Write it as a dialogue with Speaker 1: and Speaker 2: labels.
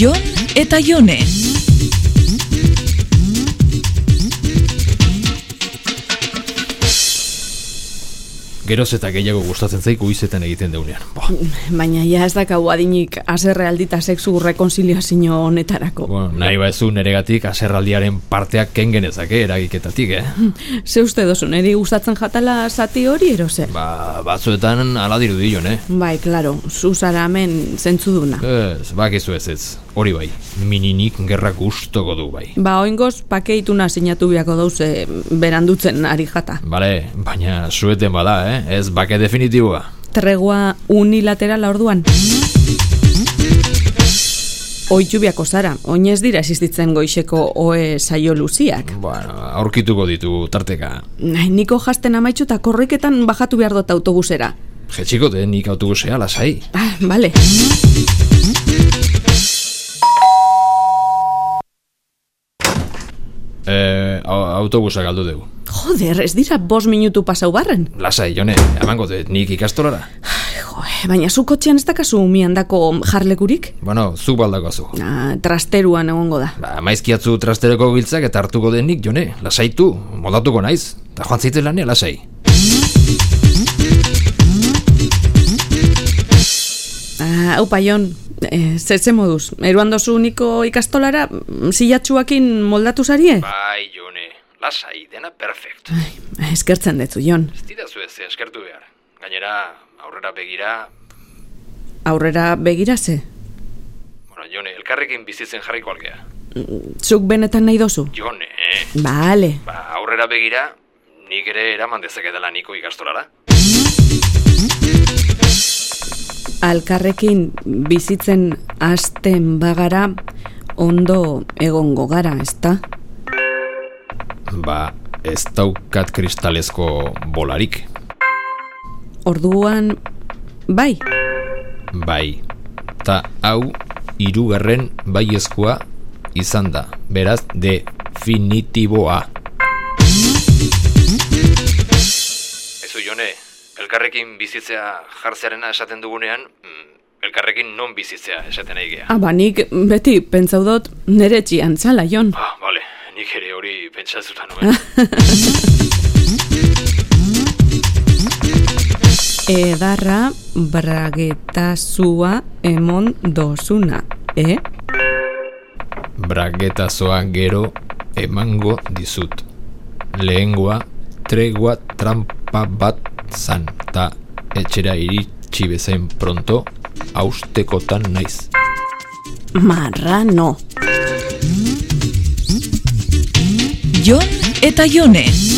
Speaker 1: Jon eta Jone.
Speaker 2: Geroz eta gehiago gustatzen zaik goizetan egiten deunean. Ba,
Speaker 3: Baina ja ez dakau adinik azerrealdi eta sexu rekonziliazio honetarako.
Speaker 2: bueno, nahi baezu neregatik aserraldiaren parteak kengenezake eragiketatik, eh?
Speaker 3: Ze uste dozu, niri gustatzen jatala zati hori erose?
Speaker 2: Ba, batzuetan ala dirudi eh? jone.
Speaker 3: Bai, klaro, zuzara hemen zentzuduna.
Speaker 2: Ez, bakizu ez ez. Hori bai, mininik gerra gustoko du bai.
Speaker 3: Ba, oingoz pakeituna sinatu biako dauze berandutzen ari jata.
Speaker 2: Bale, baina sueten bada, eh? Ez bake definitiboa.
Speaker 3: Tregua unilaterala orduan. Oitxu biako zara, oinez dira existitzen goizeko oe saio luziak.
Speaker 2: Bueno, aurkituko ditu tarteka.
Speaker 3: Nahi, niko jasten amaitxu eta korriketan bajatu behar dut autobusera.
Speaker 2: Jetxikote, eh, nik autobusea lasai.
Speaker 3: Ah, vale.
Speaker 2: E, autobusa galdu dugu.
Speaker 3: Joder, ez dira bost minutu pasau barren.
Speaker 2: Lasai, jone, emango dut, nik ikastolara.
Speaker 3: Jo, eh, baina zu kotxean ez dakazu miandako jarlekurik?
Speaker 2: Bueno, zu baldakoazu.
Speaker 3: Ah, trasteruan egongo da.
Speaker 2: Ba, maizkiatzu trastereko biltzak eta hartuko den nik, jone, lasaitu, modatuko naiz, eta joan zaitez lanea lasai.
Speaker 3: Ah, hau paion, eh, zertze moduz. Eruan dozu niko ikastolara, mm, silatxuakin moldatu zarie?
Speaker 2: Bai, jone, lasai, dena perfekt.
Speaker 3: Ah, Eskertzen detzu, Jon.
Speaker 2: Ez dira ez eskertu behar. Gainera, aurrera begira,
Speaker 3: Aurrera begira ze.
Speaker 2: bueno, jone, elkarrekin bizitzen jarriko algea.
Speaker 3: Zuk benetan nahi dozu?
Speaker 2: Jone,
Speaker 3: Bale.
Speaker 2: ba, aurrera begira, nik ere eraman dezaketela niko ikastolara.
Speaker 3: Alkarrekin bizitzen hasten bagara ondo egongo gara, ezta?
Speaker 2: Ba, ez daukat kristalezko bolarik.
Speaker 3: Orduan, bai,
Speaker 2: Bai, ta hau hirugarren baiezkoa izan da. Beraz, definitiboa. Ezu jone, elkarrekin bizitzea jartzearena esaten dugunean, mm, elkarrekin non bizitzea esaten nahi
Speaker 3: Ah.
Speaker 2: gea.
Speaker 3: abanik ba, beti pentsau dut nere txian zala, Jon.
Speaker 2: Ah, bale, nik ere hori pentsatuta nuen.
Speaker 3: Edarra bragetazua emon dozuna, eh?
Speaker 2: Bragetazoa gero emango dizut. Lehengoa tregua trampa bat zan, ta etxera iritsi bezain pronto haustekotan naiz.
Speaker 3: Marrano.
Speaker 1: Jon eta Jone.